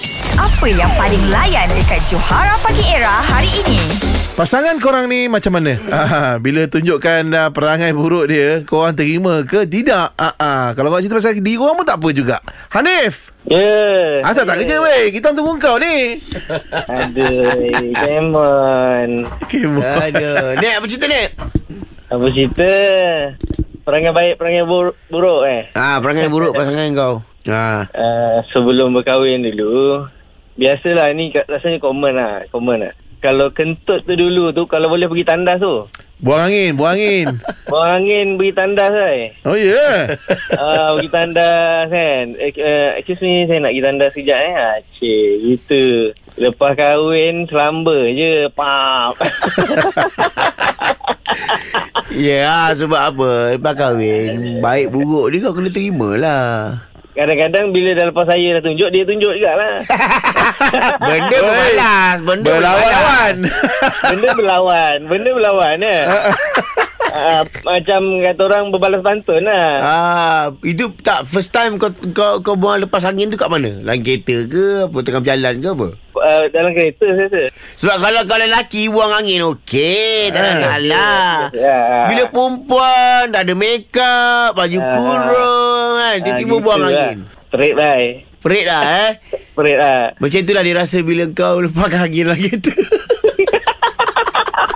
Siapa yang paling layan dekat Johara Pagi Era hari ini? Pasangan korang ni macam mana? Ah, bila tunjukkan ah, perangai buruk dia, korang terima ke tidak? Ah, ah. Kalau korang cerita pasal diri korang pun tak apa juga. Hanif, Ya. asal tak kerja weh. Kita tunggu kau ni. Aduh, Demon. Okay, Aduh. Nek, apa cerita Nek? Apa cerita? Perangai baik, perangai bur- buruk eh. Ah, perangai buruk pasangan kau. Ah. Uh, sebelum berkahwin dulu, biasalah ni kat- rasanya common lah. Common lah. Kalau kentut tu dulu tu, kalau boleh pergi tandas tu. Buang angin, buang angin. Buang angin pergi tandas eh. Oh ya. Yeah. Ah, pergi tandas kan. Eh, eh, excuse me, saya nak pergi tandas sekejap eh. Ah, cik, gitu. Lepas kahwin, selamba je. Pap. Ya, yeah, sebab apa? Lepas kahwin, eh, baik buruk dia kau kena terima lah. Kadang-kadang bila dah lepas saya dah tunjuk, dia tunjuk juga lah. Ah, Benda Oi. berbalas. Benda Berlawan-lawan. Benda berlawan. Benda berlawan eh. Ah, macam kata orang berbalas pantun lah. Ah, itu tak first time kau kau kau buang lepas angin tu kat mana? Dalam kereta ke apa tengah berjalan ke apa? Ah, dalam kereta saya rasa. Sebab kalau kau lelaki buang angin okey, tak ada salah. Ya. Ah. Bila perempuan dah ada make up, baju Ah. kurung kan, Ah, tiba-tiba buang lah. angin. Perit lah. eh. Perit lah eh. Perit lah. Macam itulah dia rasa bila kau lepas angin lah gitu.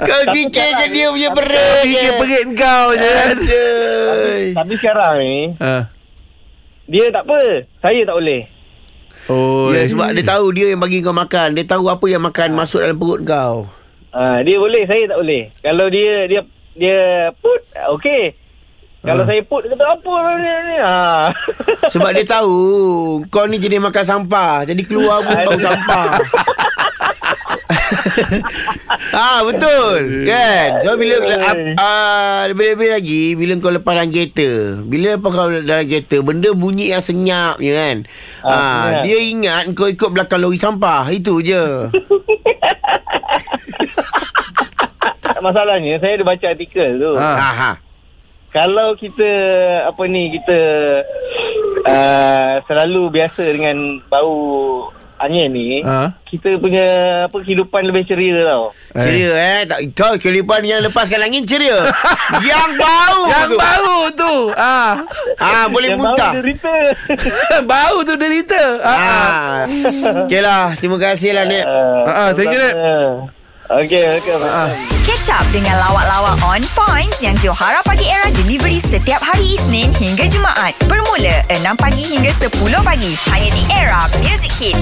kau fikir je dia punya perit. Fikir Eh, perit kau je Ya. kan. Aduh. Tapi sekarang ni, Ah. dia tak apa. Saya tak boleh. Oh. Ya sebab dia tahu dia yang bagi kau makan. Dia tahu apa yang makan Ah. masuk dalam perut kau. Ah, dia boleh, saya tak boleh. Kalau dia dia dia put, ah, okey. Kalau saya put, dia kata apa ni? ni? Ah. Ah. Sebab dia tahu kau ni jenis makan sampah. Jadi keluar pun bau sampah. ah betul kan so bila ah lebih-lebih lagi bila kau lepas dalam kereta bila lepas kau dalam kereta benda bunyi yang senyap je kan ah Ah, dia ingat kau ikut belakang lori sampah itu je Masalahnya, saya ada baca artikel tu. Ah. aha Kalau kita apa ni kita uh, selalu biasa dengan bau angin ni, Ha? kita punya apa kehidupan lebih ceria tau. ceria eh tak kau kelipan yang lepaskan angin ceria yang bau Yang tu. bau tu. Ah. ah boleh Yang muntah bau derita. bau tu derita. Ah. ah. Ah. Okey lah. Terima kasih lah, Nek. uh, Ah, ah, thank you, Nat. Okey, okey. Ah. Catch up dengan lawak-lawak on points yang Johara Pagi Era delivery setiap hari Isnin hingga Jumaat. Bermula 6 pagi hingga 10 pagi. Hanya di Era Music Hit.